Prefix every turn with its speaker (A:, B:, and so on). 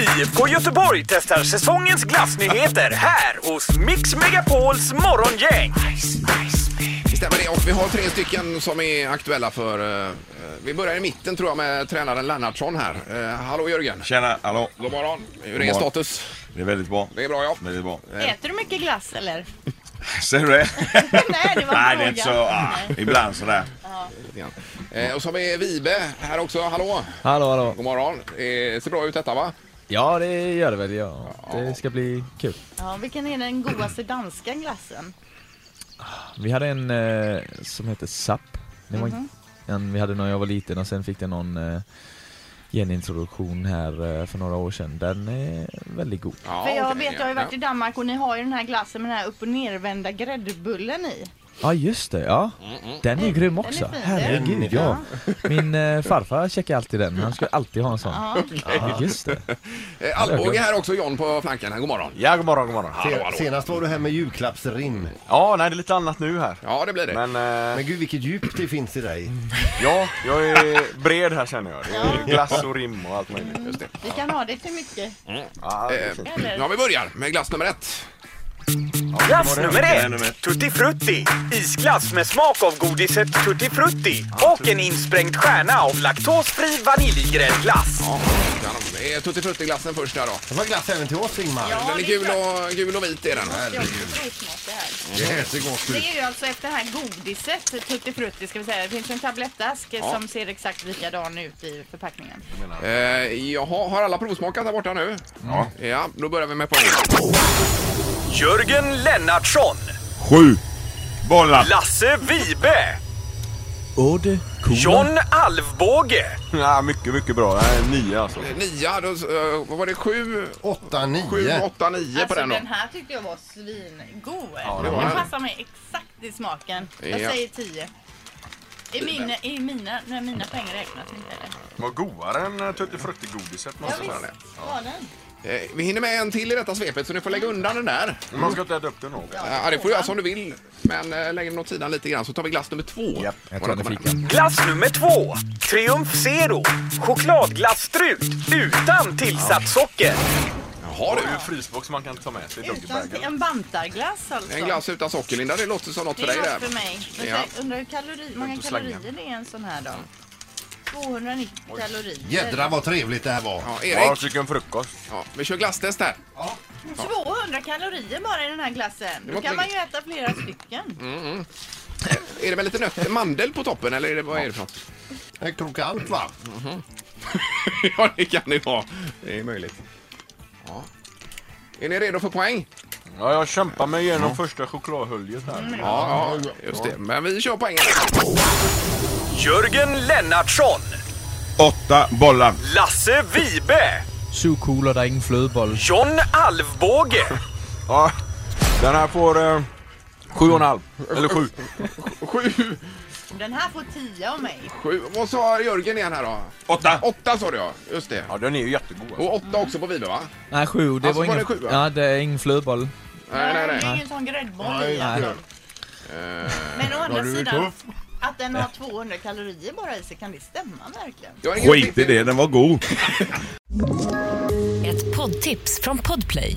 A: IFK Göteborg testar säsongens glassnyheter här hos Mix Megapols morgongäng.
B: Det stämmer det. Och vi har tre stycken som är aktuella för... eh, vi börjar i mitten tror jag med tränaren Lennartsson här. Eh, hallå Jörgen!
C: Tjena, hallå.
B: God morgon! Hur
C: God
B: är
C: morgon.
B: status?
C: Det är väldigt bra.
B: Det är bra ja.
C: Väldigt bra.
D: Äter du mycket glass eller?
C: Ser du det?
D: Nej, det var
C: Nej,
D: en
C: det är inte så.
D: fråga.
C: Ah,
D: Nej.
C: ibland sådär.
B: Lite grann. Eh, och så har vi Vibe här också. Hallå!
E: Hallå, hallå.
B: God morgon! Eh, ser bra ut detta va?
E: Ja, det gör det väl. Ja. Det ska bli kul.
D: Ja, vilken är den godaste danska glassen?
E: Vi hade en eh, som hette SAP. Det var
D: Mhm.
E: en vi hade när jag var liten och sen fick den någon eh, genintroduktion här eh, för några år sedan. Den är väldigt god.
B: Ja,
D: För jag
B: okej.
D: vet, jag har ju varit i Danmark och ni har ju den här glassen med den här upp och nervända gräddbullen i.
E: Ja, just det. Ja. Den är grym
D: är
E: också.
D: fin, det.
E: Herregud, ja. Min eh, farfar checkar alltid den. Han skulle alltid ha en sån.
D: Ja.
E: Ja, just det.
B: ja. Eh, Alvbåge här också, John på flanken. här. God morgon!
F: Ja, god morgon, god morgon.
B: Hallå, hallå.
G: Senast var du här med julklappsrim.
F: Ja, nej, det är lite annat nu här.
B: Ja, det blir det.
F: Men eh,
G: Men gud vilket djup det finns i dig.
F: ja, jag är bred här känner jag. Det är glass och rim och allt möjligt.
B: Just det.
D: Vi kan ha det till mycket.
F: Ja, det är fint.
D: Eller?
B: Eh, Ja, vi börjar med glass nummer ett.
A: Glass nummer
C: nummer ett.
A: ett, Tutti Frutti. Isglass med smak av godiset Tutti Frutti och en insprängd stjärna av laktosfri vaniljgräddglass.
B: Ja, kanon. Det är Tutti Frutti-glassen först där då.
G: Det var glass även till oss Ingmar.
D: Ja.
B: Den är
D: det är
B: gul och, gul och vit är den.
D: Jag har också provsmak det här.
G: Det ser gott ut.
D: Det är ju alltså efter det här godiset, Tutti Frutti ska vi säga. Det finns en tablettask som ser exakt likadan ut i förpackningen.
B: Eh, jaha, har alla provsmakat där borta nu? Ja. Ja, då börjar vi med poäng.
A: Jörgen Lennartsson.
C: Sju bollar.
A: Lasse Vibe.
E: Åde,
A: John Alvbåge.
F: Ja, mycket, mycket bra. Det här är nio alltså.
B: Nia, då, eh, vad var det sju,
G: Åtta,
B: sju,
G: nio.
B: åtta, nio på
D: Alltså
B: den då?
D: den här tyckte jag var svingod.
B: det
D: den
B: var den.
D: passar mig exakt i smaken. Jag
B: Ja.
D: säger 10. I mina, i mina, när mina pengar räknas inte eller?
F: Vad godare än eh, Tutti Frutti-godiset.
D: Ja
F: måste jag säga.
D: visst var den.
B: Eh, vi hinner med en till i detta svepet så ni får lägga undan den där.
F: Man ska inte äta upp det något.
B: Ja, det får du göra som du vill. Men eh, lägg den åt sidan lite grann så tar vi glass nummer två.
F: Japp,
E: Jag
B: Och
E: tar
B: den
E: den i
B: kommer
E: fikan.
A: Glass nummer två. Triumf Zero. Chokladglasstrut utan tillsatt socker.
B: här. Jaha
F: Det är ju
B: du.
F: frysbox man kan ta med sig i
D: Utan,
F: doggybagen.
D: en bantarglass alltså.
B: En glass utan socker, Linda. Det låter som något
D: det
B: för
D: är
B: dig
D: något
B: där.
D: för mig. Men
B: Ja.
D: jag undrar hur kalori, många
F: att slänga.
D: kalorier det är en sån här då? 290 kalorier.
G: Jädra vad trevligt det här var.
B: Ja,
F: Ja,
B: Erik.
F: stycken frukost.
B: Ja, vi kör glasstest här.
D: 200 kalorier bara i den här glassen.
B: var
D: Då
B: inte
D: kan man ju äta flera stycken.
B: Mm. Är det med lite nöt, mandel på toppen eller är det, vad är det för något?
G: En krokant va?
B: Ja, det kan det vara. Det är möjligt. Ja. Är ni redo för poäng?
F: Ja, jag kämpar mig igenom första chokladhöljet här.
D: Mm.
B: Ja, ja, just det. Men vi kör poängen.
A: Jörgen Lennartsson.
C: Åtta bollar.
A: Lasse Vibe.
E: Sugkugler, der er ingen flødebolle.
A: John Alvbåge.
F: Ja, den här får eh, sju och en halv. Eller sju.
B: Sju,
D: Den här får 10 av mig.
B: sju. Vad sa Jörgen igen här då?
F: Åtta.
B: Åtta sa du ja, just det.
F: Ja, den är ju jättegod. alltså.
B: Och åtta också på Vibe va?
E: Nej, sju. Det
B: Altså,
E: var
B: Ah, var
E: ingen...
B: det sju, ja?
E: Nej, det er ingen flødebolle.
B: Nej, nej,
D: Det
B: nej.
D: är ingen sån gräddboll
G: Nej,
D: i alltså. Men å andra
G: du är
D: sidan,
G: tuff.
D: att den har 200 kalorier bara i sig, kan det stämma verkligen?
B: Jag har ingen
C: Skit i
B: riktig-
C: det, den var god.
H: Ett poddtips från Podplay.